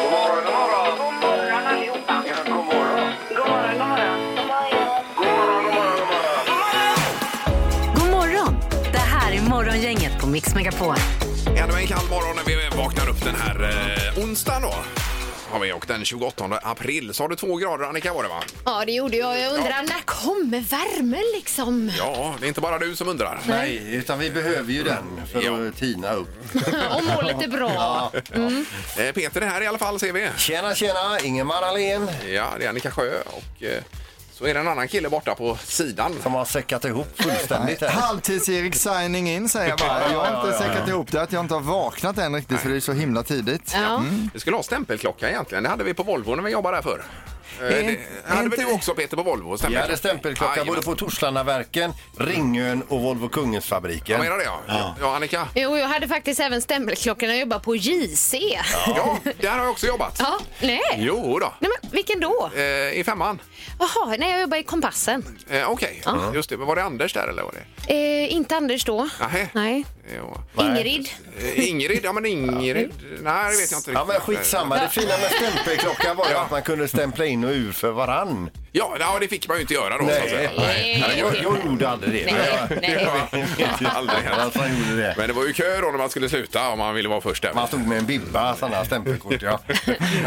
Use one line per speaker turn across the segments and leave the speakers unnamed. God morgon, god morgon. God morgon allihopa. Ja, god morgon. God morgon, god morgon. God morgon, god morgon, god morgon.
God morgon! Det här är Morgongänget på Mix Megapol.
Ännu en kall morgon när vi vaknar upp den här eh, onsdagen då. Har vi och den 28 april. Sa du två grader Annika var det va?
Ja, det gjorde jag. Jag undrar, när kommer värmen liksom?
Ja, det är inte bara du som undrar.
Nej, utan vi behöver ju den för
Ja.
att tina upp.
Om målet är bra.
Eh, Peter är här i alla fall ser vi.
Tjena, tjena! Ingemar Ahlén
Ja, det är Annika Sjö och eh, så är det en annan kille borta på sidan.
som har säckat ihop fullständigt här.
Halvtids-Erik signing in säger jag bara. Jag har inte säkrat ihop det att jag inte har vaknat än riktigt för det är så himla tidigt.
Ja.
Vi skulle ha stämpelklocka egentligen. Det hade vi på Volvo när vi jobbade där förr. Eh, det, hade väl
inte-
du också Peter på Volvo?
Vi hade stämpelklocka
Jajamän.
både på Torslandaverken, Ringön och Volvo
Jag
Kungensfabriken.
menar det ja. ja. Ja, Annika.
Jo, jag hade faktiskt även stämpelklockan när jag jobbade på JC. Ja,
Ja, där har jag också jobbat.
nej.
Jo då.
nej men, vilken då?
Eh, I femman.
Jaha, nej, jag jobbade i Kompassen.
Eh, Okej, just det. Men Var det Anders där eller var det?
Eh, inte Anders då.
Nähä.
Nej.
Jo.
Ingrid.
Eh, Ingrid, ja men Ingrid, nej det vet jag inte
Ja men skitsamma, det fina med stämpelklockan var ju att man kunde stämpla in och ur för varann.
Ja, ja, det fick man ju inte göra då. så att säga.
Nej, jag, jag gjorde aldrig det.
Eh, Nej, nej.
Ja, aldrig hänt.
Alltså, han gjorde det.
Men det var ju kö då när man skulle sluta om man ville vara först där.
Man stod med en bibba, sådana här stämpelkort ja.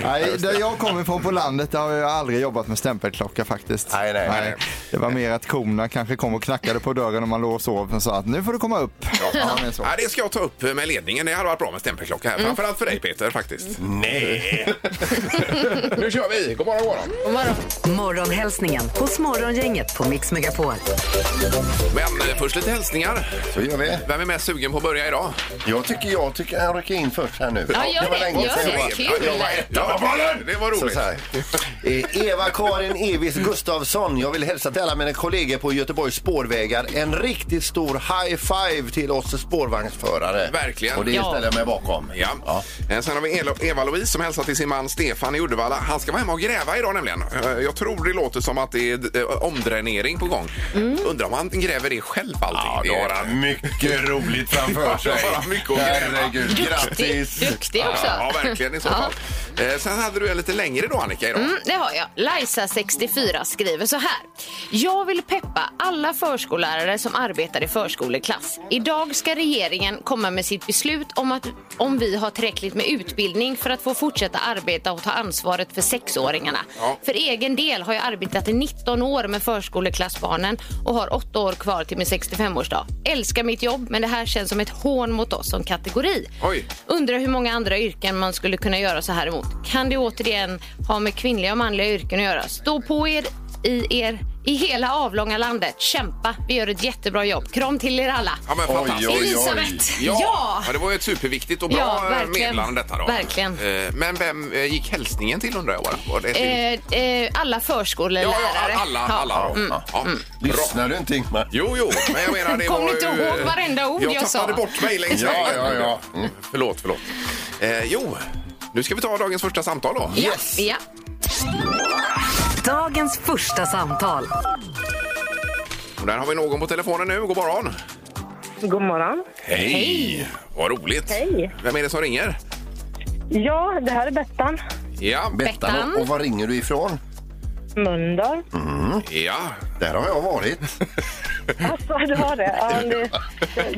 Nej, där jag kommer ifrån på landet där har jag aldrig jobbat med stämpelklocka faktiskt.
Nej, nej, nej.
Det var mer att korna kanske kom och knackade på dörren om man låg och sov och sa att nu får du komma upp. Ja, men så.
Ja, det ska jag ta upp med ledningen. Det hade varit bra med stämpelklocka
Mm.
här. Framförallt för dig Peter faktiskt.
Nej!
Nu kör vi! God morgon, god morgon.
Morgonhälsningen hos Morgongänget på Mix Megapol.
Men eh, först lite hälsningar.
Så gör vi.
Vem är mest sugen på att börja idag?
Jag tycker jag tycker han rycker in först här nu.
Ja, gör det, gör
sedan
det.
jag var-
Kul.
Jag var etta på bollen! Det var
Så
roligt.
så här. Eh, Eva-Karin Evis Gustafsson, jag vill hälsa till alla mina kollegor på Göteborgs spårvägar. En riktigt stor high five till oss spårvagnsförare.
Verkligen.
Och det
Ja.
ställer jag mig bakom.
Ja. Eh, Sen har vi Elo- Eva-Louise som hälsar till sin man Stefan i Uddevalla. Han ska vara hemma och gräva idag nämligen. Eh, Jag tror det låter som att det är eh, omdränering på gång. Undrar om han gräver det själv
Ja,
allting.
då har han mycket roligt framför sig.
Ja, mycket att gräva.
Herregud,
Duktig,
grattis!
duktig också.
Ja, verkligen i så fall. Eh, Sen hade du en lite längre då Annika idag.
Mm, det har jag. Lajsa64 skriver så här. Jag vill peppa alla förskollärare som arbetar i förskoleklass. Idag ska regeringen komma med sitt beslut om att om vi har tillräckligt med utbildning för att få fortsätta arbeta och ta ansvaret för sexåringarna.
Ja.
För egen del har jag arbetat i 19 år med förskoleklassbarnen och har 8 år kvar till min 65-årsdag. Älskar mitt jobb, men det här känns som ett hån mot oss som kategori.
Oj.
Undrar hur många andra yrken man skulle kunna göra så här emot. Kan det återigen ha med kvinnliga och manliga yrken att göra? Stå på er i er i hela avlånga landet. Kämpa! Vi gör ett jättebra jobb. Kram till er alla.
Ja, men fantastiskt.
oj, oj.
Elisabeth!
Ja.
Ja!
det var ju ett superviktigt och bra
Ja,
eh,
verkligen.
meddelande detta då.
Verkligen.
Eh, Men vem eh, gick hälsningen till undrar jag bara? Var det till-
Eh, eh, alla
ja,
förskollärare.
ja, alla, alla.
Ja, ja.
Ja. Bra.
Lyssnar du inte Ingmar?
Jo, jo, men jag menar det
Kom
var
ni inte
ju,
ihåg varenda ord jag sa?
tappade bort mig längs
Ja,
vägen.
ja, ja.
Mm. Förlåt, förlåt. Eh, jo, nu ska vi ta dagens första samtal då.
Yes!
Ja.
Dagens första samtal.
Och där har vi någon på telefonen nu. God morgon.
God morgon.
Hej! Vad roligt.
Hej.
Vem är det som ringer?
Ja, det här är Bettan.
Ja,
Bettan, och, och var ringer du ifrån?
Mölndal.
ja.
Där har jag varit.
Alltså, du har det. Ja, det,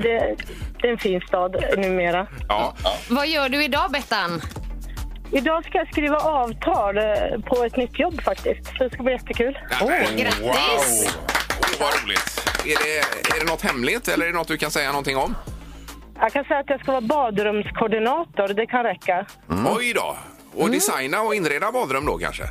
det. Det är en fin stad numera.
ja.
Vad gör du idag, Bettan?
Idag ska jag skriva avtal eh, på ett nytt jobb faktiskt. Så det ska bli jättekul.
Åh,
grattis.
Wow. Åh, vad roligt. Är det, är det något hemligt eller är det något du kan säga någonting om?
Jag kan säga att jag ska vara badrumskoordinator. Det kan räcka.
Mm.
Oj då! Och
Mm.
designa och inreda badrum då kanske?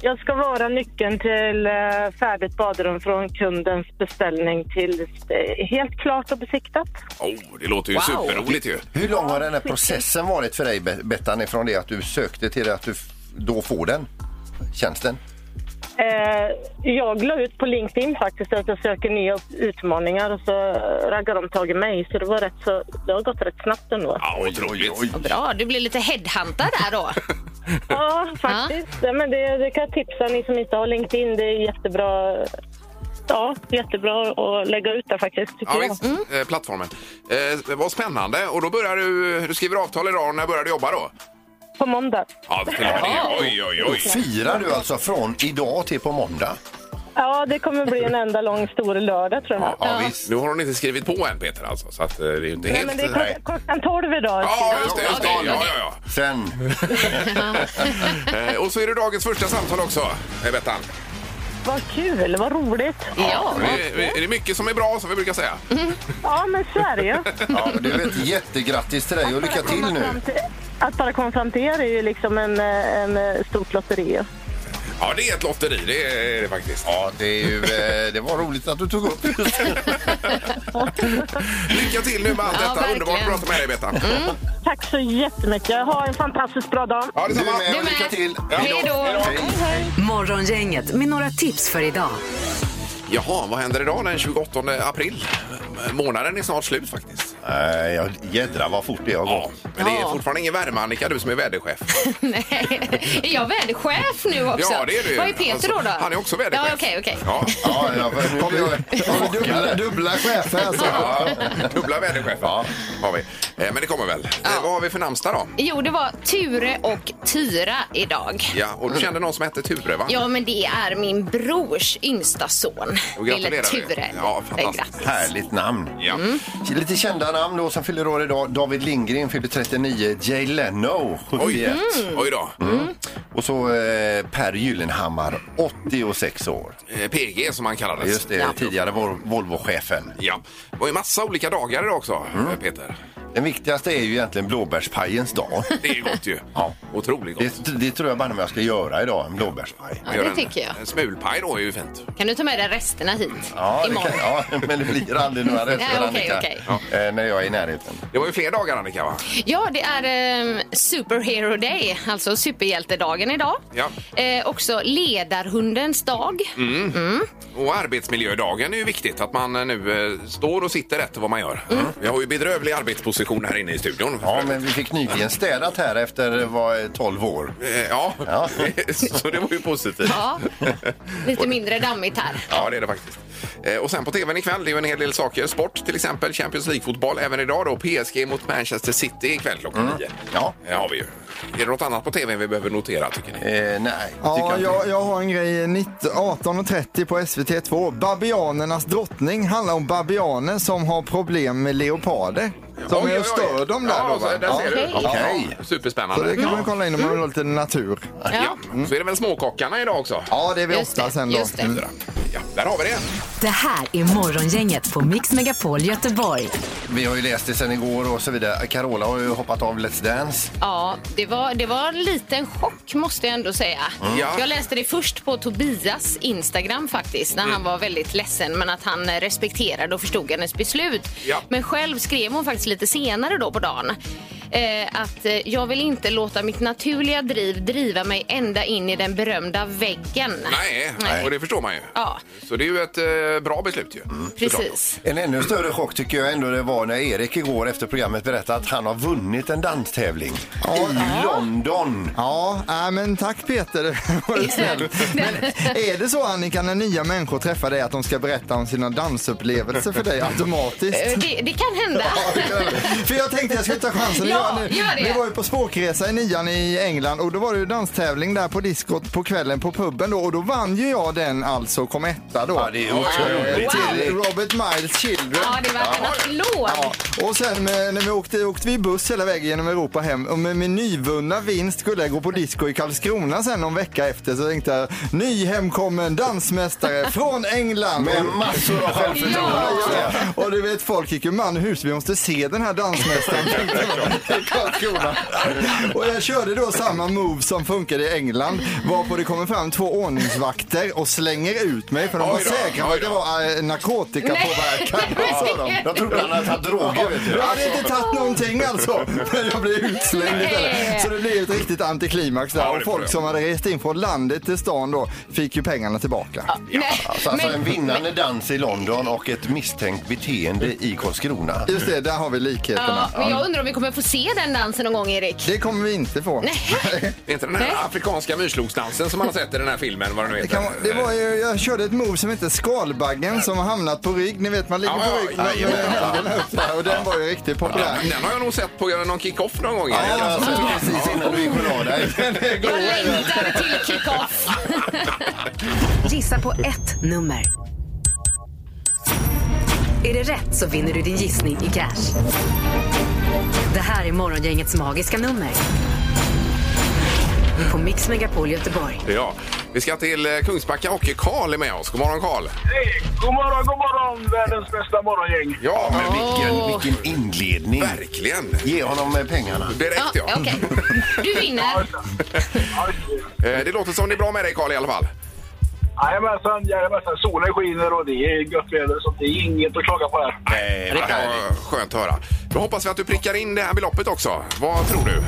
Jag ska vara nyckeln till eh, färdigt badrum från kundens beställning till eh, helt klart och besiktat.
Oh, det låter ju superroligt ju.
Hur lång har den här processen varit för dig Be- Bettan ifrån det att du sökte till det att du f- då får den tjänsten?
Eh, jag la ut på LinkedIn faktiskt att jag söker nya utmaningar och så raggade de tag i mig. Så det var rätt så, det har gått rätt snabbt ändå.
Ja, otroligt.
Vad Bra, du blir lite headhuntad där då.
Ja, faktiskt. Ja. Men det, det kan jag tipsa ni som inte har LinkedIn. Det är jättebra. Ja, jättebra att lägga ut där faktiskt, tycker
Ja,
jag.
visst. Eh, Plattformen. Eh, vad spännande. Och då börjar du... Du skriver avtal idag och när börjar du jobba då?
På måndag.
Ja, till och med det. Oj, oj,
Då
oj.
firar du alltså från idag till på måndag?
Ja, det kommer bli en enda lång stor lördag tror jag.
Ja, visst.
Nu har hon inte skrivit på än, Peter, alltså. Så att, eh, det är ju inte
Nej,
helt...
men det är
Nej.
klockan- klockan tolv idag.
Ja, just det. Just det.
Ja, det är
Ja, ja,
Sen,
ja. Eh, Och så är det dagens första samtal också, eh, Bettan.
Vad kul, vad roligt.
Ja.
Det, det är mycket som är bra, som vi brukar säga.
Ja, men så är det ju.
ja, men du vet, jättegrattis till dig och lycka till
Komma
nu.
fram till- Att bara komma fram till er är ju liksom en, eh, en eh, stort lotteri. ju.
Ja, det är ett lotteri, det är det faktiskt.
Ja, det, är ju, eh, det var roligt att du tog upp just det.
Lycka till nu med allt
Ja,
detta.
verkligen.
Underbart att prata med dig, Bettan.
Tack så jättemycket. Ha en fantastiskt bra dag.
Ja,
Du är
detsamma.
med och lycka till.
Hej då.
Hej.
Morgongänget med några tips för idag.
Jaha, vad händer idag den 28 april? M- Månaden är snart slut faktiskt.
Nej, jag- jädrar vad fort det har
Ja,
gått.
men det är
Ja.
fortfarande ingen värme, Annika, du som är väderchef.
Nej. Är jag väderchef nu också?
Ja, det är du.
Vad är Peter
Alltså,
då, då?
han är också väderchef.
Ja, okej, okej.
Ja,
Ja, ja, för nu blir jag-
Har vi dubbla, dubbla chefer alltså.
ja, dubbla väderchefer har vi. Eh, Men det kommer väl. Eh, Vad har vi för namnsdag då?
Jo, det var Ture och Tyra idag.
Ja, och du kände någon som hette Ture, va?
Ja, men det är min brors yngsta son.
Och gratulerar
Lille
du.
Ture. Eh,
Ja, fantastiskt.
Grattis.
Härligt namn.
Ja.
Mm.
Lite kända namn då som fyller år idag. David Lindgren fyller 39, Jay Leno 71
Oj, oj då.
Mm. och så eh, Per Gyllenhammar 86 år.
Eh, PG som han kallades.
Just det, tidigare Vol- Volvo-chefen.
Ja, det var ju massa olika dagar idag också, eh,
Mm.
Peter.
Den viktigaste är ju egentligen blåbärspajens dag.
Det är ju gott ju.
Ja.
Otroligt gott.
Det, det tror jag bara jag ska göra idag, en blåbärspaj.
Ja, det tycker jag.
En smulpaj då är ju fint.
Kan du ta med dig resterna hit
Ja, det
imorgon?
kan, ja, men det blir aldrig några rester,
Nej, okej,
Annika, eh, när jag är i närheten.
Det var ju fler dagar, Annika, va?
Ja, det är eh, Superhero Day, alltså superhjältedagen idag.
Ja. Mm.
Eh, också ledarhundens dag.
Och arbetsmiljödagen är ju viktigt, att man eh, nu eh, står och sitter rätt vad man gör.
Mm.
Vi har ju bedrövlig arbetsposition här inne i studion.
Ja, men vi fick nyligen städat här efter var, 12 år.
Eh, ja.
Ja.
så det var ju positivt.
Ja, lite mindre dammigt här.
Ja, det är det faktiskt. Eh, Och sen på tvn ikväll, det är ju en hel del saker. Sport till exempel, Champions League-fotboll även idag då. PSG mot Manchester City ikväll klockan
Mm.
nio.
Ja.
Det har vi ju. Är det något annat på tvn vi behöver notera tycker ni?
Eh, nej, tycker
Ja,
inte.
jag, jag har en grej. 19 18.30 på SVT2. Babianernas drottning handlar om babianer som har problem med leoparder. Som
Oj,
är
oj,
och
oj.
stör dem där
ja,
då. Va?
så Där ser du.
Okej.
Okej.
Ja,
Så
superspännande.
det kan man
ja.
kolla Mm. in om man vill ha lite natur.
Ja. Så är det väl småkockarna idag också?
Ja, det är vi
Just
ofta
det,
sen då.
just det.
Mm.
Ja, där har vi det.
Det här är Morgongänget på Mix Megapol Göteborg.
Vi har ju läst det sen igår och så vidare. Carola har ju hoppat av Let's Dance.
Ja, det var, det var en liten chock måste jag ändå säga.
Mm. Ja.
Jag läste det först på Tobias Instagram faktiskt,
Mm.
när han var väldigt ledsen men att han eh, respekterade och förstod hennes beslut.
Ja.
Men själv skrev hon faktiskt lite senare då på dagen eh, att eh, jag vill inte låta mitt naturliga driv driva mig ända in i den berömda väggen.
Nej,
Nej.
och det förstår man ju.
Ja,
Så det är ju ett eh, bra beslut ju. Såklart.
precis.
En ännu större chock tycker jag ändå det var när Erik igår efter programmet berättade att han har vunnit en danstävling i London.
Ja, äh, men tack Peter. Det var ju snällt. Men är det så Annika när nya människor träffar dig att de ska berätta om sina dansupplevelser för dig automatiskt?
Eh, Det, det kan hända.
För jag tänkte jag skulle ta chansen att
Ja,
göra
gör det.
Vi var ju på språkresa i nian i England och då var det ju danstävling där på diskot på kvällen på puben då och då vann ju jag den alltså och kom etta då.
Ja, det är otroligt.
Eh, Till Robert Miles Children.
Ja, det var en applåd.
Ja, och sen med, när vi åkte, åkte vi buss hela vägen genom Europa hem och med min nyvunna vinst skulle jag gå på disco i Karlskrona sen någon vecka efter så tänkte jag ny hemkommen dansmästare från England.
Med massor av självförtroende
Ja.
också.
Och du vet folk gick ju man i hus, vi måste se den här dansmästaren. i Karlskrona. Och jag körde då samma move som funkade i England. Varpå det kommer fram två ordningsvakter och slänger ut mig för de var
Oj då,
säkra på
oj
att det
då.
var eh, narkotikapåverkan. sa de.
Jag trodde han hade tagit droger. Vet du.
Jag hade inte tagit någonting alltså, men jag blev utslängd istället. Så det blev ett riktigt antiklimax där.
Ja, det
Och
får
folk
jag.
som hade rest in från landet till stan då fick ju pengarna tillbaka.
Nej,
Alltså, alltså en vinnande dans i London och ett misstänkt beteende i Karlskrona.
Just det, där har vi
ja,
likheterna.
men jag undrar om vi kommer få se den dansen någon gång, Erik.
Det kommer vi inte få.
Det är inte den här
Nej.
afrikanska myrslogsdansen som man har sett i den här filmen, vad den nu
Det,
heter.
kan, det var ju, jag körde ett move som heter skalbaggen som har hamnat på rygg. Ni vet man ligger
Ja,
på
ja,
rygg med,
jajamän.
med händerna upp där och den var ju riktigt populär.
Den har jag nog sett på någon kick-off någon gång.
Ja,
Erik,
jag har
alltså.
sett precis innan du gick och la dig.
Jag längtar till kick-off.
Gissa på ett nummer. Är det rätt så vinner du din gissning i cash. Det här är Morgongängets magiska nummer. På Mix Megapol Göteborg.
Ja, vi ska till eh, Kungsbacka och Karl är med oss. God morgon Karl!
Hej! God morgon, god morgon, världens bästa morgongäng.
Ja, men vi...
Vilken, vilken inledning.
Verkligen!
Ge honom eh, pengarna.
Direkt ja.
Ja, okej. Du vinner.
Eh, Det låter som det är bra med dig Karl i alla fall.
Jajamensan, jajamensan. Solen skiner och det är gött väder så det är inget att klaga på här.
Nej, det var skönt att höra. Då hoppas vi att du prickar in det här beloppet också. Vad tror du?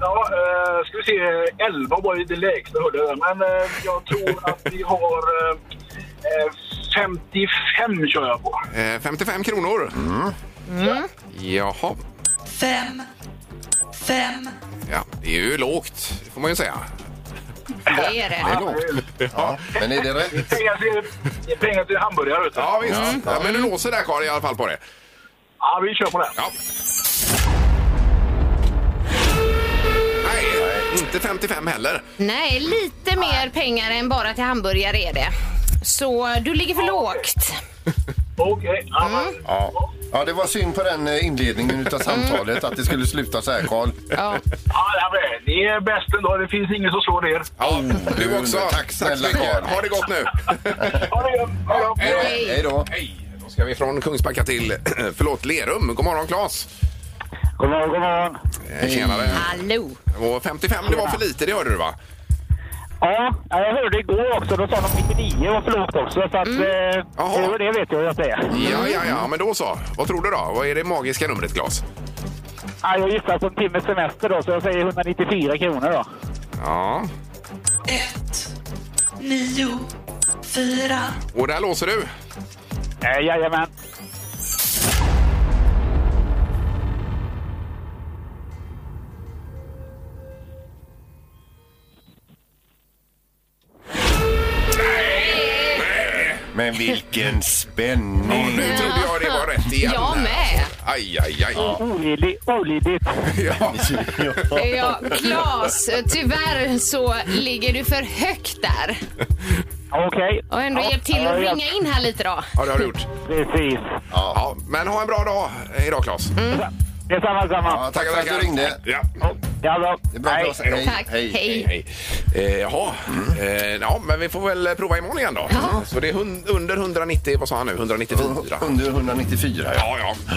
Ja, eh, ska vi se. 11 var ju det lägsta hörde jag. Men eh, jag tror att vi har eh, eh, 55 kör jag på.
Eh, 55 kronor. Mm. Jaha.
Fem. Fem.
Ja, det är ju lågt, det får man ju säga.
Det är det.
Ja, men är det rätt?
Pengar till, det är pengar till hamburgare vet du.
Ja, visst. Ja, men du låser där Karl i alla fall på det.
Ja, vi kör på det.
Mm. Ja. Nej, inte 55 heller.
Nej, lite mer pengar än bara till hamburgare är det. Så du ligger för lågt.
Okej. ja,
Mm.
men-
Ja. ja, det var synd på den eh, inledningen utav samtalet att det skulle sluta så här, Carl.
Ja.
Ja, ja, men det är bäst ändå. Det finns ingen som slår er.
Ja, du också.
Tack
så
snälla
mycket.
Karl.
Ha det gott nu.
Ha det gött. Ha det gott.
Hej då.
Hej.
Hej då.
Hej. Då ska vi från Kungsbacka till, förlåt, Lerum. God morgon Claes.
God morgon, god morgon.
Eh, Tjenare.
Hallå.
Och 55, det var för lite, det hörde du va?
Ja, ja, jag hörde igår också. Då sa de 99 var för lågt också. Så att,
Mm.
eh,
Jaha.
det var det vet jag vad jag säger.
Mm.
Ja, ja, ja, men då så. Vad tror du då? Vad är det magiska numret, Claes?
Ja, jag gissar på en timmes semester då, så jag säger 194 kronor då.
Ja.
Ett. Nio. Fyra.
Och där låser du.
Eh, jajamän.
Men vilken
Och
spänning!
nu trodde jag det var rätt igen.
Jag med.
Aj, aj, aj.
Olidligt. olidligt.
Ja.
Ja, Claes, tyvärr så ligger du för högt där.
Okej,
Och ändå hjälpt till att ringa in här lite då.
ja, det har du gjort.
precis.
Ja, Mm. men ha en bra dag idag, Claes.
Det är samma, samma.
Ja, tack för att du ringde.
Ja.
Ja, bra.
Det är bra,
Hej.
Claes. Hej.
Tack, hej.
Hej. Eh, jaha, eh, ja, men vi får väl prova imorgon igen då. Så det är hun- under 190, vad sa han nu, 194?
Under 194, ja.
Ja, ja.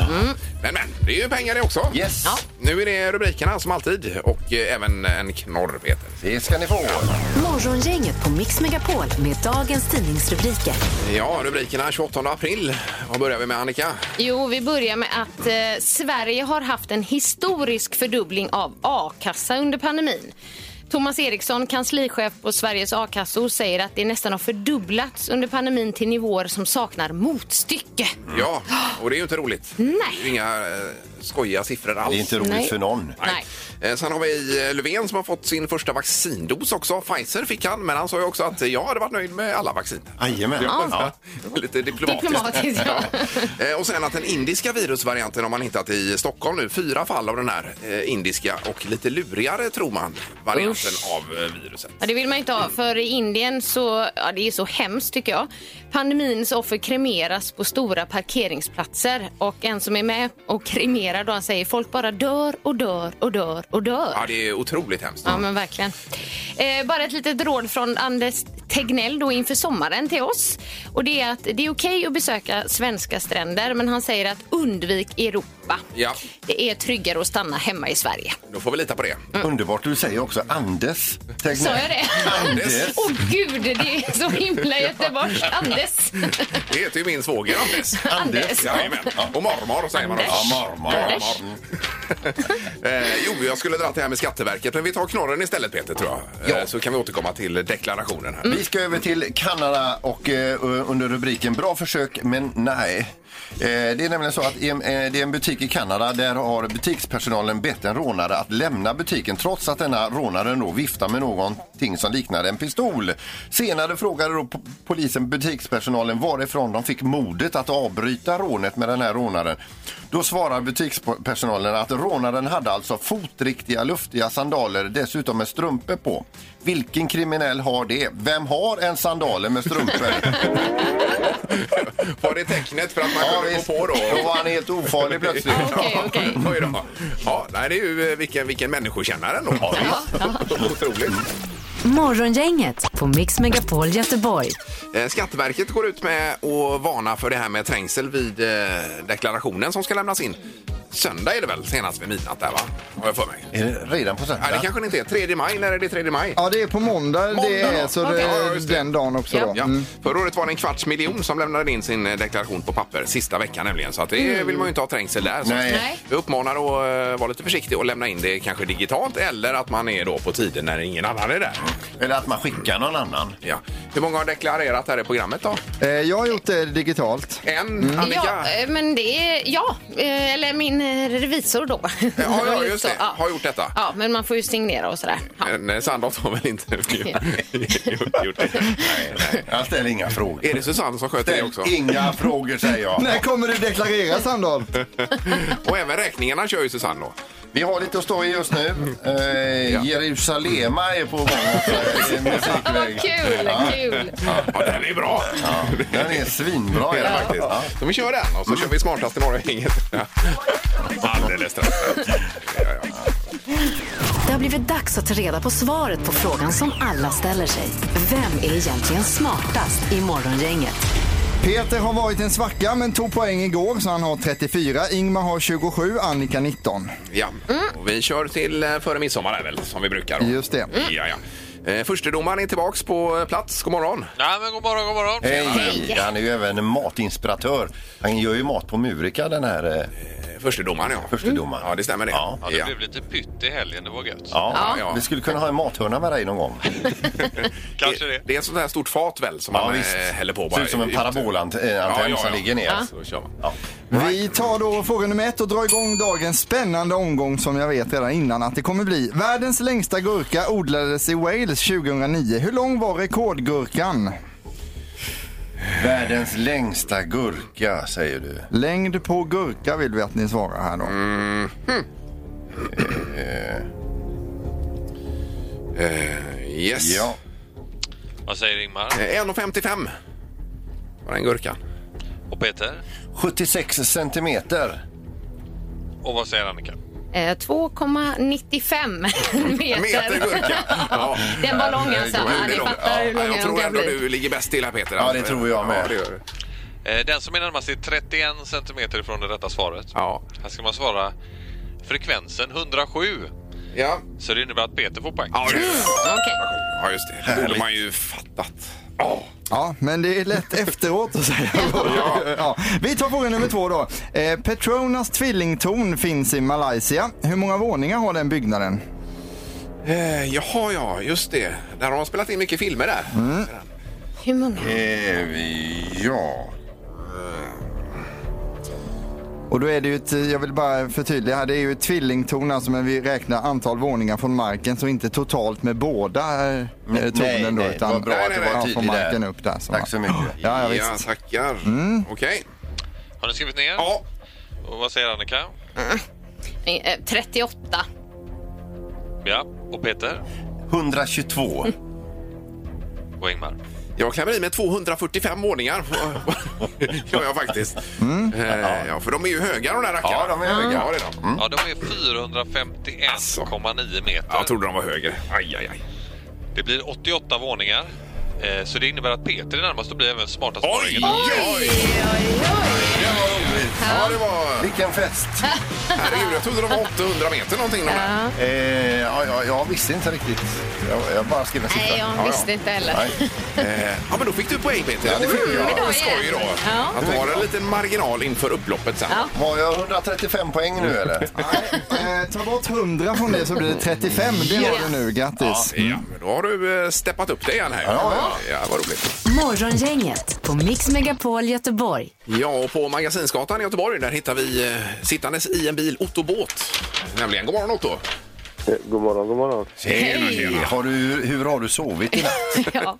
Men, men, det är ju pengar det också.
Yes,
Nu är det rubrikerna som alltid och eh, även en knorr, Peter.
det ska ni få.
Morgongänget på Mix Megapol med dagens tidningsrubriker.
Ja, rubrikerna 28 april. Vad börjar vi med, Annika?
Jo, vi börjar med att eh, Sverige har haft en historisk fördubbling av a-kassa under pandemin. Thomas Eriksson, kanslichef på Sveriges a-kassor, säger att det nästan har fördubblats under pandemin till nivåer som saknar motstycke.
Ja, och det är ju inte roligt.
Nej.
Det är ju inga eh, skojiga siffror alls.
Det är inte roligt
Nej.
för någon.
Nej. Eh, Sen har vi eh, Löfven som har fått sin första vaccindos också. Pfizer fick han, men han sa ju också att eh, jag hade varit nöjd med alla vaccin.
Jajamän.
Ja. Lite diplomatiskt.
Diplomatiskt, ja.
Eh, Och sen att den indiska virusvarianten har man hittat i Stockholm nu. Fyra fall av den här eh, indiska och lite lurigare, tror man, varianten av eh, viruset.
Ja, det vill man ju inte ha, för i Indien så, ja det är så hemskt tycker jag. Pandemins offer kremeras på stora parkeringsplatser och en som är med och kremerar då han säger folk bara dör och dör och dör och dör.
Ja, det är otroligt hemskt.
Ja, men verkligen. Eh, bara ett litet råd från Anders Tegnell då inför sommaren till oss. Och det är att det är okej att besöka svenska stränder, men han säger att undvik Europa.
Ja,
Det är tryggare att stanna hemma i Sverige.
då får vi lita på det.
Underbart. Du säger också Andes. Tänk
Sa
mig.
jag det?
Andes.
Åh gud, det är så himla göteborgskt. Andes.
Det heter ju min svåger Anders.
Andes.
Jajamän. Och mormor säger man också.
Anders.
Ja, mormor.
Anders.
Eh, jo, jag skulle dra till det här med Skatteverket, men vi tar knorren istället Peter tror jag. Eh, Så kan vi återkomma till deklarationen här.
Vi ska över till Kanada och eh, under rubriken Bra försök men nej. Eh, Det är nämligen så att i en, eh, det är en butik i Kanada där har butikspersonalen bett en rånare att lämna butiken trots att denna rånaren då viftar med någonting som liknar en pistol. Senare frågade då po- polisen butikspersonalen varifrån de fick modet att avbryta rånet med den här rånaren. Då svarar butikspersonalen att rånaren hade alltså fotriktiga luftiga sandaler dessutom med strumpor på. Vilken kriminell har det? Vem har en sandaler med strumpor? Mm.
Var det tecknet för att man kunde gå på då?
var han helt ofarlig plötsligt.
Ja, okej, okej.
Oj då. Ja, nej, det är ju eh, vilken, vilken människokännare ändå. Otroligt.
Morgongänget på Mix Megapol Göteborg.
Eh, Skatteverket går ut med att varna för det här med trängsel vid eh, deklarationen som ska lämnas in. Söndag är det väl senast vid midnatt där va? Har jag för mig.
Är det redan på
Nej, det
söndag?
kanske det inte är. 3 maj. När är det 3 maj?
Ja, det är på måndag, det
Måndag
är,
då?
så
Okej.
det
Ja,
är
just det.
den dagen också.
Ja.
Då.
Ja.
Mm.
Förra året var det en kvarts miljon som lämnade in sin eh, deklaration på papper sista veckan nämligen. Så att det vill man ju inte ha trängsel där. Så
Nej.
Nej.
Vi uppmanar att eh, vara lite försiktig och lämna in det kanske digitalt eller att man är då på tiden när ingen annan är där.
Eller att man skickar någon annan.
Ja. Hur många har deklarerat här i programmet då?
Eh, Jag har gjort det digitalt.
En, Annika?
Ja, eh, men det är... Ja, eh, eller min eh, revisor då.
Ja,
Det var
ja
lite
just
så,
det.
ja.
Har gjort detta.
Ja, men man får ju signera och sådär. Ja.
Men, eh, Sandholt har väl inte gjort- gjort det? Nej, nej.
Jag ställer inga frågor.
Är det Susanne som sköter det
Ställ
också?
inga frågor säger jag.
När kommer du deklarera Sandahl?
Och även räkningarna kör ju Susanne då.
Vi har lite att stå i just nu. Eh, Jerusalema är på gång. också, i
Ah, vad
musikväg.
kul!
Ja,
kul.
Ja, den är bra!
Den är svinbra.
är
Är
det
den
faktiskt.
Ja.
Så vi kör den och så kör vi smartast i morgongänget. Alldeles strax. Ja, ja.
Det har blivit dags att ta reda på svaret på frågan som alla ställer sig. Vem är egentligen smartast i morgongänget?
Peter har varit en svacka men tog poäng igår så han har 34. Ingmar har 27, Annika 19.
Ja. Och vi kör till eh, före midsommar är väl, som vi brukar. Då.
Just det.
Ja, ja. Eh, Förstedomaren är tillbaks på eh, plats. God morgon. Eh,
Nej, men god morgon, god morgon.
Hej! Han är ju även en matinspiratör. Han gör ju mat på Murika den här eh,
Eh, Förstedomaren, ja.
förstedomaren.
Mm. Ja, det stämmer det.
Ja.
Ja, det blev lite pytt i helgen, det var gött.
Ja.
Ja.
Vi skulle kunna ha en mathörna med dig någon gång.
Kanske det.
Eh, Det är ett sånt här stort fat väl som man eh, häller på bara.
Ser ut som en parabolantenn
Ja, ja,
som
ja.
ligger ner.
Så kör man.
Ja.
Vi tar då fråga nummer ett och drar igång dagens spännande omgång som jag vet redan innan att det kommer bli. Världens längsta gurka odlades i Wales 2009. Hur lång var rekordgurkan?
Världens längsta gurka, säger du.
Längd på gurka vill vi att ni svarar här då.
Eh, yes.
Ja.
Vad säger Ingmar
Eh, 1,55 var den gurkan.
och Peter?
76 centimeter.
Och vad säger Annika?
Eh, 2,95 meter.
Meter gurka. Ja.
Den var lång alltså.
Det var
Ja, ni
väldigt lång.
fattar hur
Ja,
lång
jag
den
tror
kan
ändå
bli.
du ligger bäst till här Peter.
Ja, det tror jag med.
Ja, det gör du.
Eh, Den som är närmast är 31 centimeter ifrån det rätta svaret.
Ja.
Här ska man svara frekvensen 107.
Ja.
Så det innebär att Peter får poäng.
Ja, det-
Mm, Okej.
ja, just det. Det borde man ju fattat. Ja.
Ja, men det är lätt efteråt att säga. ja. Vi tar fråga nummer två då. Eh, Petronas tvillingtorn finns i Malaysia. Hur många våningar har den byggnaden?
Eh, jaha, ja, just det. Där har de spelat in mycket filmer där.
Hur många?
Eh, ja.
Och då är det ju ett, jag vill bara förtydliga här, det är ju ett tvillingtorn alltså men vi räknar antal våningar från marken så inte totalt med båda eh, tornen
Mm, nej,
då.
nej, vad bra
att du var
ja,
tydlig
från
där.
marken upp där.
Tack så mycket.
Ja, ja, visst.
Ja, tackar. Okej.
Har ni skrivit ner?
Ja.
Och vad säger Annika?
Eh, 38.
Ja. Och Peter?
122.
Och Ingmar?
Jag klämmer i mig 245 våningar. gör jag faktiskt. Eh, ja, för de är ju höga de där rackarna.
Ja, de är höga.
Ja, det är de. Mm.
Ja, de är
Alltså.
451,9 meter.
Jag trodde de var högre. Aj, aj, aj.
Det blir 88 våningar. Eh, Så det innebär att Peter är närmast och blir även smartast.
Oj,
oj,
Ja, det var...
Vilken fest!
Herregud, jag trodde de var 800 meter någonting. De där.
Eh, ja, ja, jag visste inte riktigt. Jag, jag bara skrev en siffra.
Nej, jag visste inte heller.
Nej. Eh,
Ja, men då fick du poäng Peter.
Ja, det fick jag.
Ja,
Idag
skoj
igen.
då.
Ja.
Att du har en liten marginal inför upploppet sen.
Ja.
Har jag 135 poäng nu eller?
Eh, ta bort 100 från det så blir det 35. Det har du nu, grattis.
Ja, men då har du eh, steppat upp dig igen här. Ja, ja. vad roligt.
Morgongänget på Mix Megapol Göteborg.
Ja, och på Magasinsgatan i Göteborg där hittar vi eh, sittandes i en bil Otto Båt. Nämligen, god morgon Otto.
Eh, God morgon, god morgon.
Tjena,
Hej. Har du, hur har du sovit i natt?
Ja.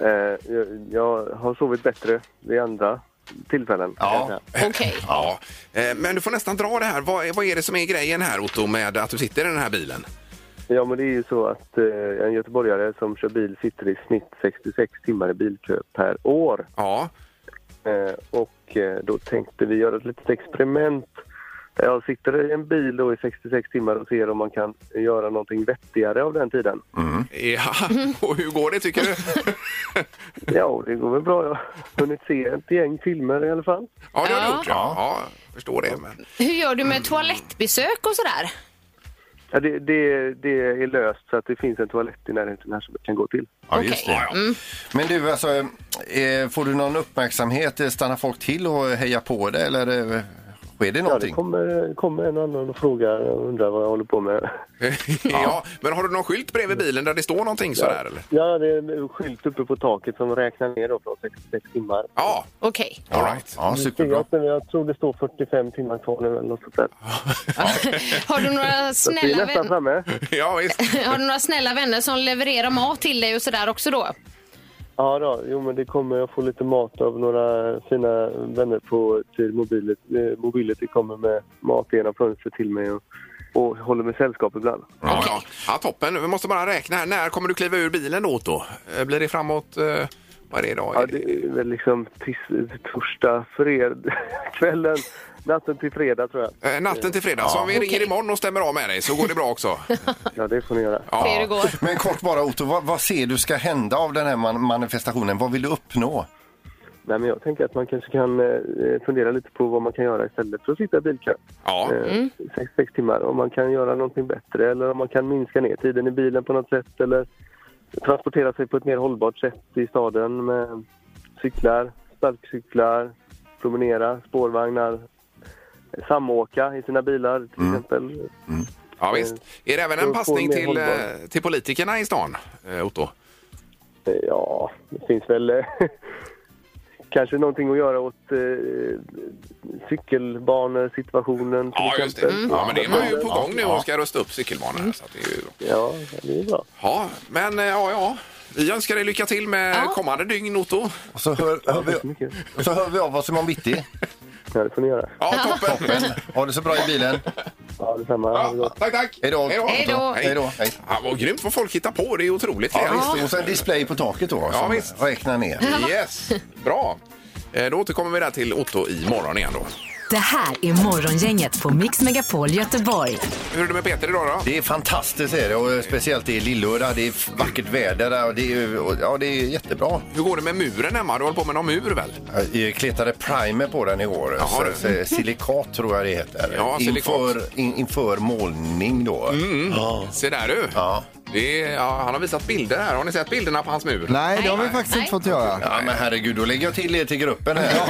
Eh, jag, jag har sovit bättre vid andra tillfällen. Ja.
Okej.
Ja, eh, men du får nästan dra det här. Vad är, vad är det som är grejen här Otto med att du sitter i den här bilen?
ja, men det är ju så att eh, en göteborgare som kör bil sitter i snitt 66 timmar i bilkö per år.
Ja.
Eh, och eh, då tänkte vi göra ett litet experiment. Eh, Jag sitter i en bil då i 66 timmar och ser om man kan göra någonting vettigare av den tiden.
Ja, och hur går det tycker du?
Ja, det går väl bra. Jag har hunnit se ett gäng filmer i alla fall.
Ja, det har du
Ja.
gjort. Ja, ja jag förstår det. Men...
Hur gör du med toalettbesök och sådär?
Ja, det, det, det är löst så att det finns en toalett i närheten här som jag kan gå till.
Ja, just det. Men du, alltså, eh, får du någon uppmärksamhet? Stannar folk till och hejar på dig eller eh, sker det
Ja, det
någonting?
kommer, kommer en och annan och frågar och undrar vad jag håller på med.
Ja, men har du någon skylt bredvid bilen där det står någonting sådär eller?
Ja, det är en skylt uppe på taket som räknar ner då från 66 timmar.
Ja,
Okej.
All right. Ja, superbra.
Jag, jag tror det står 45 timmar kvar nu eller något sånt där.
Har du några
Så att vi är
snälla
nästan
vänner?
framme.
ja visst.
Har du några snälla vänner som levererar mat till dig och sådär också då?
Ja, då, jo, men det kommer jag få lite mat av några fina vänner på till mobilet. Eh, mobilet det kommer med mat genom fönstret till mig och, och håller mig sällskap ibland.
Ja, ja. ja, toppen. Vi måste bara räkna här. När kommer du kliva ur bilen då, Otto? Eh, Blir det framåt... eh, Vad är det idag?
Ja, det är väl liksom tis, torsdag, fred, kvällen, natten till fredag tror jag.
Eh, Natten till fredag. Så om vi ringer imorgon och stämmer av med dig så går det bra också.
Ja, det får ni göra.
Se hur det går.
Men kort bara Otto, vad, vad ser du ska hända av den här man manifestationen? Vad vill du uppnå?
Nej, men jag tänker att man kanske kan eh, fundera lite på vad man kan göra istället för att sitta i bilkö.
Ja.
Eh, sex, sex timmar. Om man kan göra någonting bättre eller om man kan minska ner tiden i bilen på något sätt eller transportera sig på ett mer hållbart sätt i staden med cyklar, sparkcyklar, promenera, spårvagnar, samåka i sina bilar till exempel.
Ja, visst. Är det även
Då
en
får
passning
ni
till,
hållbar.
eh, till politikerna i stan, eh, Otto?
Eh, Ja, det finns väl eh, kanske någonting att göra åt eh, cykelbanesituationen till
Ja, just det. Mm.
exempel.
Ja, men det är man ju på gång nu och ska rusta upp cykelbanan. här, Så att det är ju... bra.
Ja, det är bra.
Ja, men eh, ja, ja. Vi önskar dig lycka till med kommande dygn, Otto.
Och så hör, hör, vi,
Mycket.
och så hör vi av oss imorgon bitti.
Ja, det får ni göra.
Ja, toppen.
Toppen. Ha det så bra i bilen.
Ja, detsamma. Ha det gott.
Ja, tack, tack.
Hej då.
Hej
Hej då.
då.
Hej då. Hej.
Ja, vad grymt vad folk hittar på. Det är otroligt.
Ja,
Lena.
visst. Och så en display på taket då som
visst.
räknar ner.
Yes, bra. Eh, Då återkommer vi där till Otto i morgon igen då.
Det här är Morgongänget på Mix Megapol Göteborg.
Hur är det med Peter idag då?
Det är fantastiskt är det och speciellt i Lillöra. Det är vackert väder där och det är, och, ja, det är jättebra.
Hur går det med muren Emma? Du håller på med någon mur väl?
Jag kletade Eh, primer på den igår.
Jaha,
så,
du.
så, silikat tror jag det heter.
Ja, silikat.
inför, in, inför målning då. Ja.
Se där du.
Ja.
Det är, ja, han har visat bilder här. Har ni sett bilderna på hans mur?
Nej, det har vi
Nej.
faktiskt inte
Nej.
fått göra.
Ja, men herregud, då lägger jag till er till gruppen här.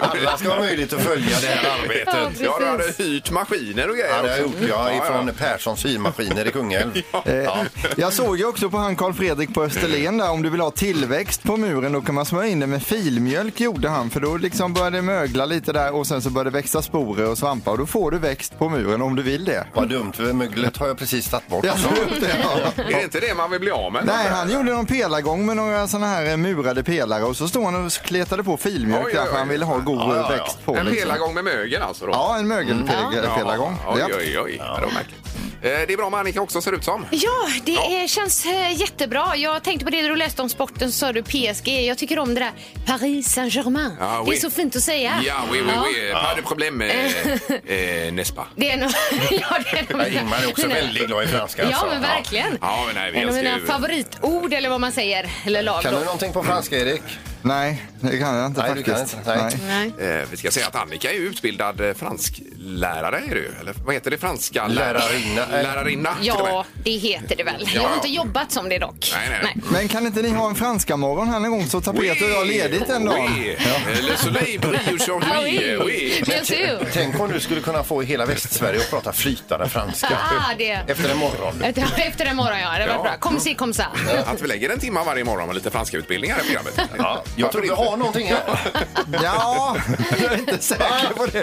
Alla ska ha möjlighet att följa det här arbetet.
Ja, du hade hyrt maskiner och
Ja,
grejer
det har jag
också.
gjort. Jag är
Ja,
från Perssons hyrmaskiner i Kungälv.
Eh, jag såg ju också på han Karl Fredrik på Österlen där, om du vill ha tillväxt på muren då kan man smörja in det med filmjölk gjorde han för då liksom började det mögla lite där och sen så började det växa sporer och svampar och då får du växt på muren om du vill det.
Vad dumt, för möglet har jag precis tagit bort.
Jag såg det, ja.
ja. Är det inte det man vill bli av med?
Nej, han gjorde någon pelargång med några sådana här eh, murade pelare och så stod han och kletade på filmjölk
Oj, oj,
där för
oj.
han ville ha god
Ja, ja, ja.
växt på.
En
liksom.
pelargång med mögel alltså? Då.
Ja, en mögelpelargång.
Ja,
Ja.
Oj, oj, oj. Ja. Det var märkligt. Eh, Det är bra med Annika också ser det ut som.
Ja, det eh, känns eh, jättebra. Jag tänkte på det du läste om sporten, så sa du PSG. Jag tycker om det där Paris Saint-Germain.
Ah,
Det
oui.
är så fint att säga.
Ja, oui, oui, oui. Pas de problem, eh, eh, n'est-ce pas?
Det är nog... ja, det är nog
Ingmar är också
mina-
väldigt glad i franska,
Ja,
alltså.
men
Ja.
verkligen.
Ja, men nej, vi
en av
älskar
mina
ju-
favoritord, eller vad man säger. Eller lag. då.
på franska, Erik?
Nej, det kan jag inte
Nej, du
faktiskt.
kan inte. Nej.
Nej.
Eh, Vi ska säga att Annika är ju utbildad eh, fransklärare, är det ju. Eller vad heter det? Franska
Lärarinna.
Lärarinna. till och med.
Ja, det heter det väl. Jag har
Ja.
inte jobbat som det dock.
Nej, nej, nej.
Men kan inte ni ha en franska morgon här någon gång så tar Peter och jag ledigt en dag?
Oui. Eh, Le soleil brille
Ah,
aujourd'hui.
oui.
eh, oui.
Bien sûr.
Tänk om du skulle kunna få hela Västsverige att prata flytande franska.
Ah, det-
Efter en morgon.
Efter- Efter den morgon, ja. Det var
Ja.
bra. Kom si, kom sa.
Att vi lägger en timme varje morgon med lite franska utbildningar i programmet.
Ja, jag tror vi har någonting här.
Ja, jag är inte säker på det.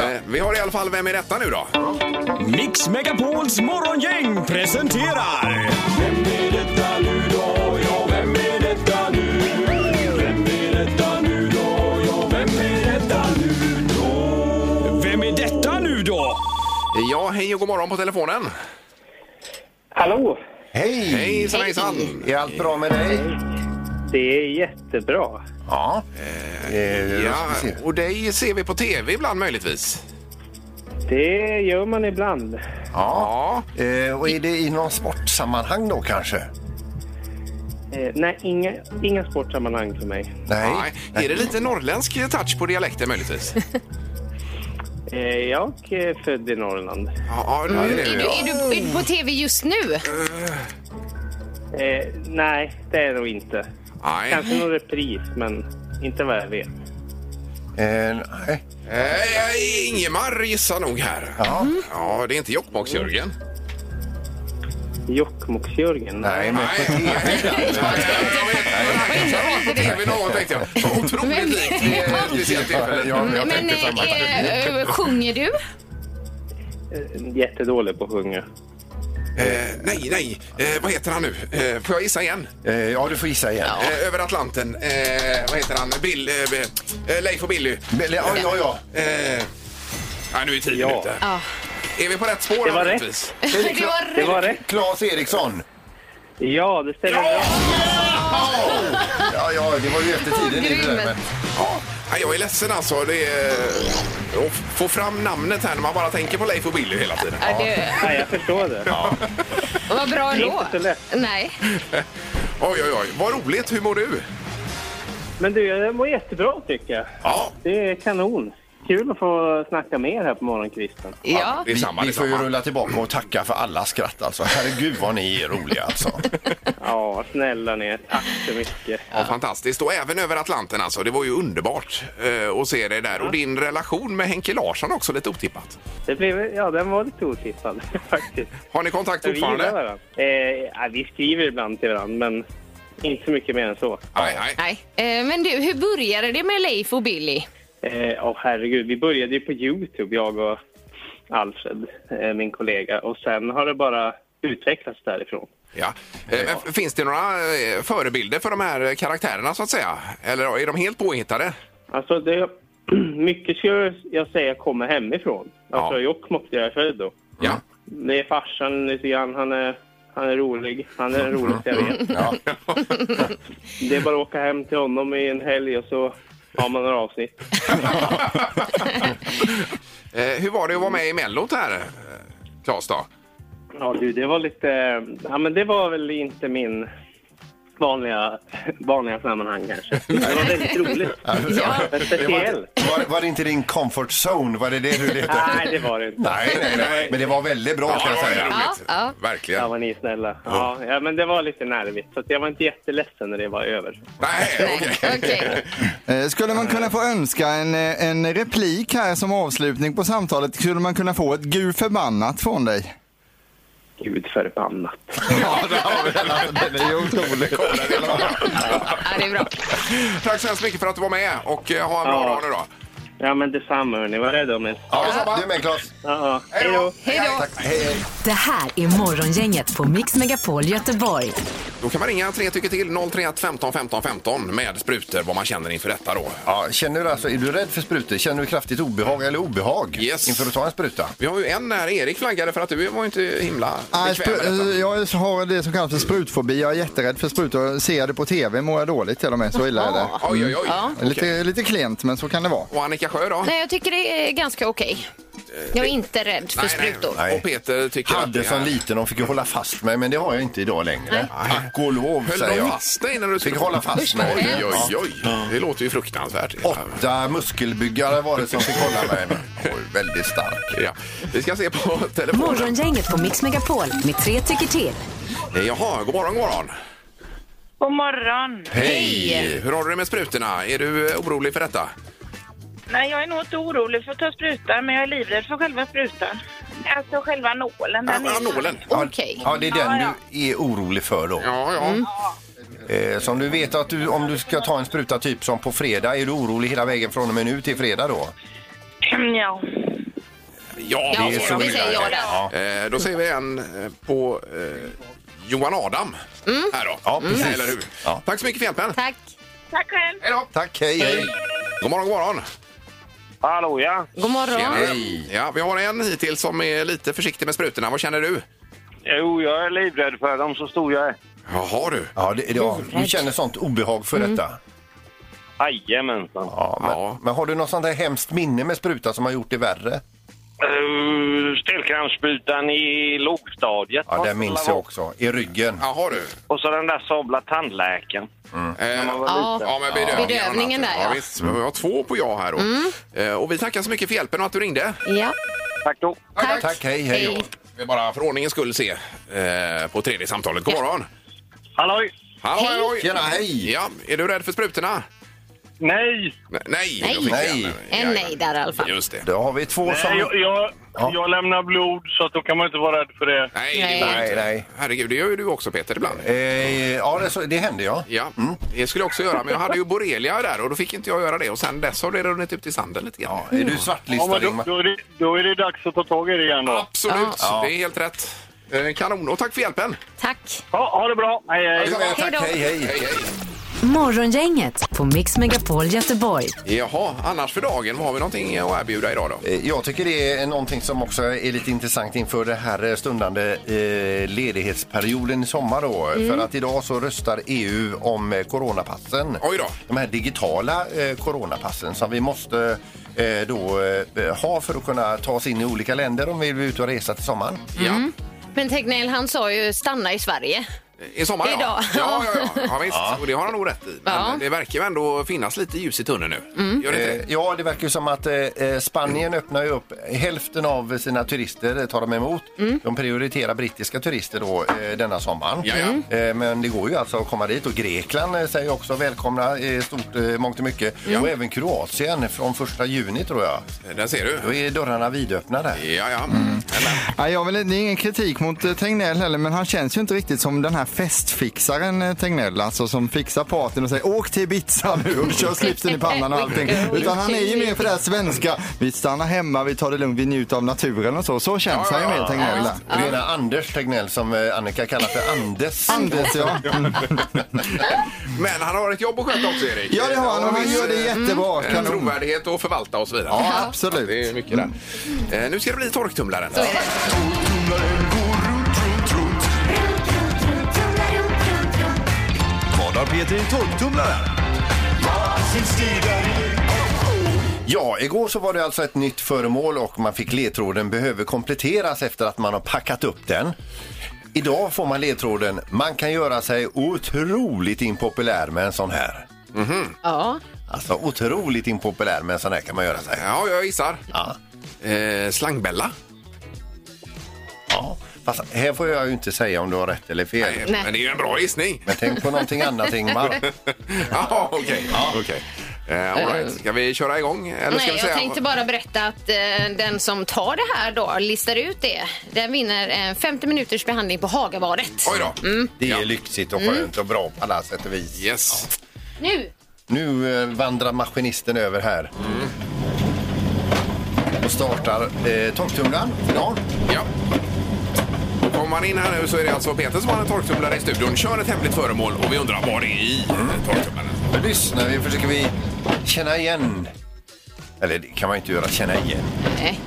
Eh, Vi har i alla fall Vem är detta nu då?
Mix Megapols morgongäng presenterar... Vem är detta nu då? Ja, vem är detta nu? Vem är detta nu då? Ja, vem är detta nu då? Vem är detta nu då?
Ja, hej och god morgon på telefonen.
Hallå!
Hej!
Hejsan, hejsan!
Är allt bra med dig?
Det är jättebra.
Ja. Eh,
ja, och dig ser vi på tv ibland möjligtvis.
Det gör man ibland.
Ja. Eh, och är det i någon sportsammanhang då kanske?
Eh, nej, inga, inga sportsammanhang för mig.
Nej.
Är det lite norrländsk touch på dialekten möjligtvis?
Eh, jag är född i Norrland.
Ja,
nu
Är du, är, du, är du på tv just nu?
Eh, nej, det är det nog inte.
Mm.
Nej.
Kanske någon repris, men inte vad jag vet.
nej.
Eh, Ingemar gissar nog här.
Ja.
ja, det är inte Jokkmokks-Jörgen.
Jokkmokks-Jörgen?
Nej, men på
tv någon tänkte jag. Så Otroligt likt vid ett speciellt tillfälle.
Men eh, eh, sjunger du?
Jättedålig på att sjunga.
Eh, nej, nej. Eh, vad heter han nu? Eh, får jag gissa igen?
ja, du får gissa igen.
Eh, över Atlanten. Eh, vad heter han? Bill, eh, eh, Leif och Billy.
Bill, ja, ja, ja.
Eh, nej, nu är tiden ute.
Ja.
Är vi på rätt spår?
Det var
här,
rätt.
givetvis?
Det var rätt.
rätt.
Claes Eriksson.
Ja, det stämmer bra.
Ja, ja, det var ju efter tiden. i det där, men-
Ja, nej, jag är ledsen alltså. Det är, eh, att få fram namnet här när man bara tänker på Leif och Billy hela tiden.
Ja, det-
Nej, jag förstår det.
Vad bra ändå.
Inte så lätt.
Nej.
Oj, oj, oj. Vad roligt. Hur mår du?
Men du, jag mår jättebra tycker jag.
Ja.
Det är kanon. Kul att få snacka med er här på morgonkvisten.
vi, vi får ju rulla tillbaka och tacka för alla skratt alltså. Herregud vad ni är roliga alltså.
Ja, snälla ni. Tack så mycket.
Ja, fantastiskt. Och även över Atlanten alltså. Det var ju underbart eh, att se dig där. Och din relation med Henke Larsson också lite otippat.
Det blev, ja, den var lite otippad faktiskt.
Har ni kontakt
Men vi gillar
fortfarande?
varandra. Eh, ja, vi skriver ibland till varandra, men inte så mycket mer än så.
Nej, nej.
Nej. Eh, Men du, hur började det med Leif och Billy?
Eh, åh, herregud, vi började ju på Youtube, jag och Alfred, eh, min kollega. Och sen har det bara utvecklats därifrån.
Ja. Eh, men f- Finns det några eh, förebilder för de här eh, karaktärerna så att säga? Eller är de helt påhittade?
Alltså, det, mycket skulle jag säga kommer hemifrån. Alltså Jokkmokk där jag är född då.
Ja.
Det är farsan lite grann. Han är, han är rolig. Han är den roligaste jag vet. Det är bara att åka hem till honom i en helg och så har man några avsnitt.
Eh, Hur var det att vara med i Mellot här, eh, Claes då?
Ja, du, det var lite... Ja, men det var väl inte min vanliga, vanliga sammanhang kanske. Det var väldigt roligt. Men speciell.
Var, var det inte din comfort zone? Var det det du letade
Nej, det var det inte.
Nej, nej, nej. Men det var väldigt bra kan jag säga.
ja.
Verkligen.
Ja, vad ni är snälla. Ja, ja, men det var lite nervigt. Så att jag var inte jätteledsen när det var över.
Nej, okej.
Eh, Skulle man kunna få önska en, eh, en replik här som avslutning på samtalet? Skulle man kunna få ett gud förbannat från dig?
Gud förbannat.
Den är ju otrolig.
Ja, det är bra.
Tack så hemskt mycket för att du var med och eh, ha en bra
Ja.
dag nu då.
Ja, men detsamma hörni. Var rädd om er.
Ja, du med Claes.
Ja, ja. Hej då.
Hej då.
Tack. Hej, hej.
Det här är Morgongänget på Mix Megapol Göteborg.
Då kan man ringa tre tycker till 031 15 15 15 med sprutor vad man känner inför detta då.
Ja, känner du alltså, är du rädd för sprutor? Känner du kraftigt obehag eller obehag
Yes.
inför att ta en spruta?
Vi har ju en där Erik flaggade för att du var ju inte himla
Nej,
bekväm med
spru-
detta.
eh, jag har det som kallas för sprutfobi. Jag är jätterädd för sprutor. Ser jag det på tv mår jag dåligt till och med. Så illa är det.
Jaha. Oj, oj,
Mm.
oj. Ja.
Lite, lite klent, men så kan det vara.
Och Annika Sjö då?
Nej, jag tycker det är ganska okej. Jag är inte rädd för
nej,
sprutor.
Nej.
Och Peter tycker att
Hade
det
som
är...
liten, de fick ju hålla fast mig, men det har jag inte idag längre. Tack och lov,
Höll
säger
de
jag.
fast dig när du
Fick hålla fast mig.
Oj, oj, oj. Det låter ju fruktansvärt.
Åtta muskelbyggare var det som fick hålla mig. Oj, väldigt stark.
Ja. Vi ska se på telefonen.
Morgongänget på Mix Megapol med tre tycker till.
Eh, Jaha, god morgon, god morgon.
God morgon.
Hej! Hur har du det med sprutorna? Är du eh, orolig för detta?
Nej, jag är nog inte orolig för att ta sprutan, men jag är livrädd för själva sprutan. Alltså själva nålen. Den är...
nålen?
Okej.
Ja, det är den
Ja,
du är orolig för då.
Ja, ja.
Eh, som du vet att du, om du ska ta en spruta typ som på fredag, är du orolig hela vägen från och med nu till fredag då?
ja.
Ja,
Ja, det är så det illa. säger jag
där. Eh, då säger vi en eh, på eh, Johan Adam. Här då. Ja,
precis.
Eller hur? Tack så mycket för hjälpen.
Tack.
Tack själv.
Hej då.
Tack, hej, hej.
God morgon, god morgon.
Hallå, ja.
God morgon.
Tjena. Ja, vi har en hittills som är lite försiktig med sprutorna. Vad känner du?
Jo, jag är livrädd för dem, så stor jag är.
Jaha du.
Ja, det, ja, du känner sånt obehag för
Mm.
detta?
Jajamensan.
Ja, men, men har du något sånt där hemskt minne med spruta som har gjort det värre?
Uh, Stelkrampssprutan i lågstadiet.
Ja, den minns jag också. I ryggen.
Jaha du.
Och så den där sabla tandläkaren.
Eh,
man var
Ja.
liten.
Ja, men bedövningen,
Bedövningen
och annat.
där, ja.
ja. visst. Vi har två på ja här då. Eh, Och vi tackar så mycket för hjälpen och att du ringde.
Ja.
Tack då.
Tack.
Tack, hej, hej.
Hej.
Vi bara för ordningens skull se eh, på tredje samtalet. God morgon!
Halloj!
Hallå,
Hej.
halloj.
Tjena, hej.
Ja, är du rädd för sprutorna?
Nej!
Nej!
Nej.
Nej! jag fick
Nej.
igen.
En nej där i alla fall.
Just det.
Då har vi två som...
Nej, jag, jag,
Ja.
jag lämnar blod, så att då kan man inte vara rädd för det.
Nej,
Nej.
det går
Nej,
inte.
nej.
Herregud, det gör ju du också Peter ibland.
Eh, ja, det, så, det hände ja.
Ja, det skulle jag också göra. Men jag hade ju borrelia där och då fick inte jag göra det. Och sen dess har det runnit ut i sanden lite grann.
Är du
Ja,
svartlistad
men då,
Ingmar?
då, är det, då är det dags att ta tag i det igen då.
Mm. Absolut,
Ja.
det är helt rätt. Eh, Kanon, och tack för hjälpen.
Tack.
Ja, ha det bra! Hej, hej!
Ja, tack,
då.
hej, hej.
Hej, hej.
Morgongänget på Mix Megapol Göteborg.
Jaha, annars för dagen, har vi någonting att erbjuda idag då?
Eh, Jag tycker det är någonting som också är lite intressant inför den här eh, stundande eh, ledighetsperioden i sommar då.
Mm.
För att idag så röstar EU om eh, coronapassen.
Oj då.
De här digitala eh, coronapassen som vi måste eh, då eh, ha för att kunna ta oss in i olika länder om vi vill ut och resa till sommaren.
Mm.
Ja.
Men Tegnell, han sa ju stanna i Sverige.
I sommar ja.
Idag.
Ja, ja, ja. ja visst. Och det har han nog rätt i. Men
Ja. Mm.
det verkar ju ändå finnas lite ljus i tunneln nu. Gör det
Eh,
inte?
Ja, det verkar ju som att eh, eh, Spanien öppnar ju upp. Hälften av sina turister eh, tar de emot. De prioriterar brittiska turister då eh, denna sommaren.
Mm. Ja, ja.
Eh, Men det går ju alltså att komma dit och Grekland eh, säger också välkomna i stort eh, mångt och mycket. Och även Kroatien från första juni tror jag.
Där ser du.
Då är dörrarna vidöppnade.
Ja, ja. Eller,
Nej, jag vill, inte- det är ingen kritik mot eh, Tegnell heller, men han känns ju inte riktigt som den här festfixaren eh, Tegnell, alltså som fixar partyn och säger åk till Ibiza nu och kör slipsen i pannan och allting. Utan han är ju mer för det här svenska, vi stannar hemma, vi tar det lugnt, vi njuter av naturen och så. Så känns han ju mer Tegnell. där.
Och det är den här Anders Tegnell som eh, Annika kallar för Andes.
Anders ja.
men han har ett jobb att sköta också, Erik.
Ja det har han och han
visst,
gör det
eh,
jättebra.
eh,
Kanon.
Trovärdighet och förvalta och så vidare.
Ja absolut.
Det är mycket där. Eh, nu ska det bli torktumlaren.
Så är det.
Vad har Peter i torktumlaren?
Ja, igår så var det alltså ett nytt föremål och man fick ledtråden behöver kompletteras efter att man har packat upp den. Idag får man ledtråden man kan göra sig otroligt impopulär med en sån här.
Ja.
Alltså otroligt impopulär med en sån här kan man göra sig.
Ja, jag gissar.
Ja.
Eh, slangbella.
ja. Fast här får jag ju inte säga om du har rätt eller fel.
Eh,
Nej.
Men det är ju en bra gissning.
Men tänk på någonting annat Ingmar.
Jaha, okej. Ja. okej. Eh, all right. Ska vi köra igång? Eller ska
Nej,
vi
jag tänkte bara berätta att eh, den som tar det här då, listar ut det, den vinner en 50 minuters behandling på Hagabadet.
Oj då.
Det är lyxigt och skönt och bra på alla sätt och vis.
Yes.
Nu!
Nu eh, vandrar maskinisten över här. Och startar eh, torktumlaren. Ja.
Ja. Då kom Kommer man in här nu så är det alltså Peter som har en torktumlare i studion. Kör ett hemligt föremål och vi undrar vad det är i torktumlaren.
Nu lyssnar vi försöker vi känna igen. Eller det kan man ju inte göra, känna igen.
Nej.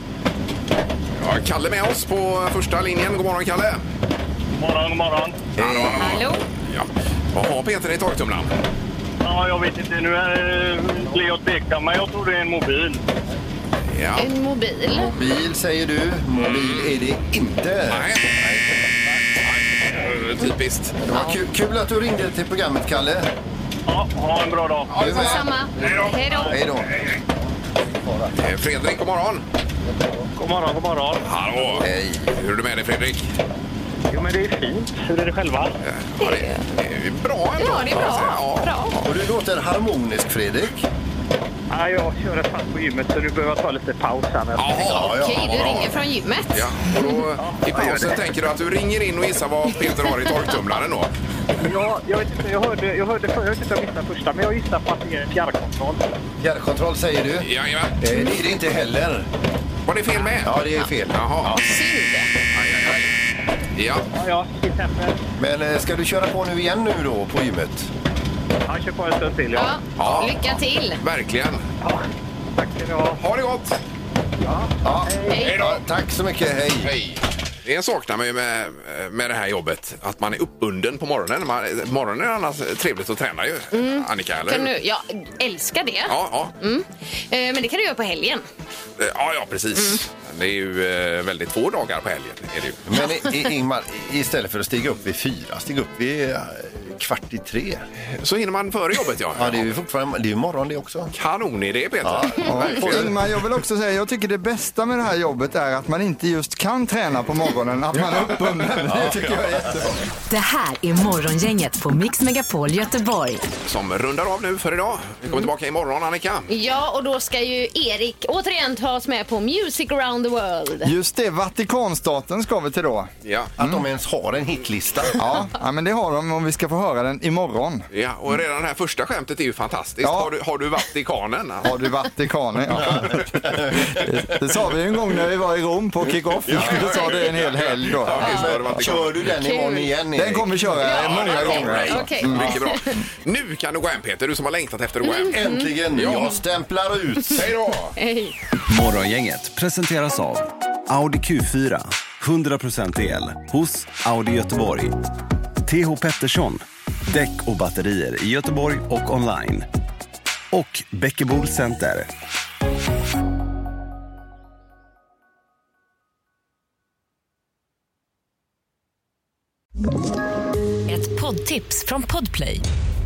Ja, Kalle med oss på första linjen. God morgon Kalle! God morgon, god morgon! Hallå!
Hallå.
Ja. Vad har Peter i torktumlaren?
Ja, jag vet inte. Nu är, blir jag tveksam, men jag tror det är en mobil.
Ja.
En mobil.
Mobil säger du. Mobil är det inte.
Nej. Typiskt.
Det var kul, kul att du ringde till programmet, Kalle.
Ja, ha en bra dag.
Du är med.
Samma. Hej då.
Hej då.
Eh, Fredrik, god morgon!
God morgon, god morgon.
Hallå!
Eh.
Hej! Hur är det med dig Fredrik?
Jo, men det är fint. Hur är det själva?
Ja, det är bra ändå.
Ja, det är bra. bra.
Och du låter harmonisk, Fredrik.
Ja, jag kör ett pass på gymmet, så du behöver ta lite paus här. nu.
Jaha, ja,
Okej,
vad
du
bra.
ringer från gymmet.
Ja, och då i pausen tänker du att du ringer in och gissar vad Peter har i torktumlaren då?
Ja, jag vet inte, jag hörde, jag hörde, jag vet inte om jag missade första, men jag gissar på att det är en fjärrkontroll.
Fjärrkontroll säger du.
Jajamän.
Eh, det är det inte heller.
Var det fel med?
Ja, det är fel.
Jaha. Aj, aj, aj. Ja.
Ja, ja, shit happens.
Men eh, ska du köra på nu igen nu då på gymmet?
Ja, kör på en stund till, ja.
Ja. Lycka till.
Verkligen.
Tack ska ni ha.
Ha det gott!
Ja.
Hej.
Ja, tack så mycket, hej.
Hej! Det saknar man ju med, med det här jobbet, att man är uppbunden på morgonen. Man, morgonen är annars trevligt att träna ju, Annika, eller
Mm. Kan
hur?
du, jag älskar det.
Ja, ja.
Mm. Eh, Men det kan du göra på helgen.
ja, ja precis.
Mm.
Det är ju eh, väldigt få dagar på helgen. Är det ju.
Men i- i- Ingmar, i- istället för att stiga upp vid fyra, stig upp vid eh, kvart i tre.
Så hinner man före jobbet, ja.
Ja, det är ju fortfarande, det är ju morgon det också. Mm.
Kanonidé, Peter.
Ja, och
Verkligen.
Ingmar, jag vill också säga, jag tycker det bästa med det här jobbet är att man inte just kan träna på morgonen, att man är uppbunden. Det tycker jag är jättebra.
Det här är Morgongänget på Mix Megapol Göteborg.
Som rundar av nu för idag. Vi
Mm.
kommer tillbaka imorgon, Annika.
Ja, och då ska ju Erik återigen ta oss med på Music around the world.
Just det, Vatikanstaten ska vi till då.
Ja.
Att de ens har en hitlista.
Mm. Ja, ja, men det har de om vi ska få höra den imorgon.
Ja, och redan det här första skämtet är ju fantastiskt.
Mm. Ja.
Har, du, har du Vatikanen?
Har du Vatikanen? Ja. Det, det sa vi ju en gång när vi var i Rom på kick-off. Vi skulle ta det en hel helg då.
Ja, visst har du Vatikanen.
Kör du den imorgon igen,
Den
Erik?
kommer köra många gånger.
Okej.
alltså.
Mycket bra. Nu kan du gå hem, Peter, du som har längtat efter att gå hem.
Äntligen!
Mm.
Jag stämplar ut.
Hej då!
Hej.
Morgongänget presenteras av Audi Q4, 100% el hos Audi Göteborg. TH Pettersson, däck och batterier i Göteborg och online. Och Bäckebol Center.
Ett poddtips från Podplay.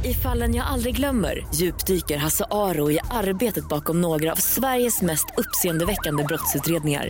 I fallen jag aldrig glömmer djupdyker Hasse Aro i arbetet bakom några av Sveriges mest uppseendeväckande brottsutredningar.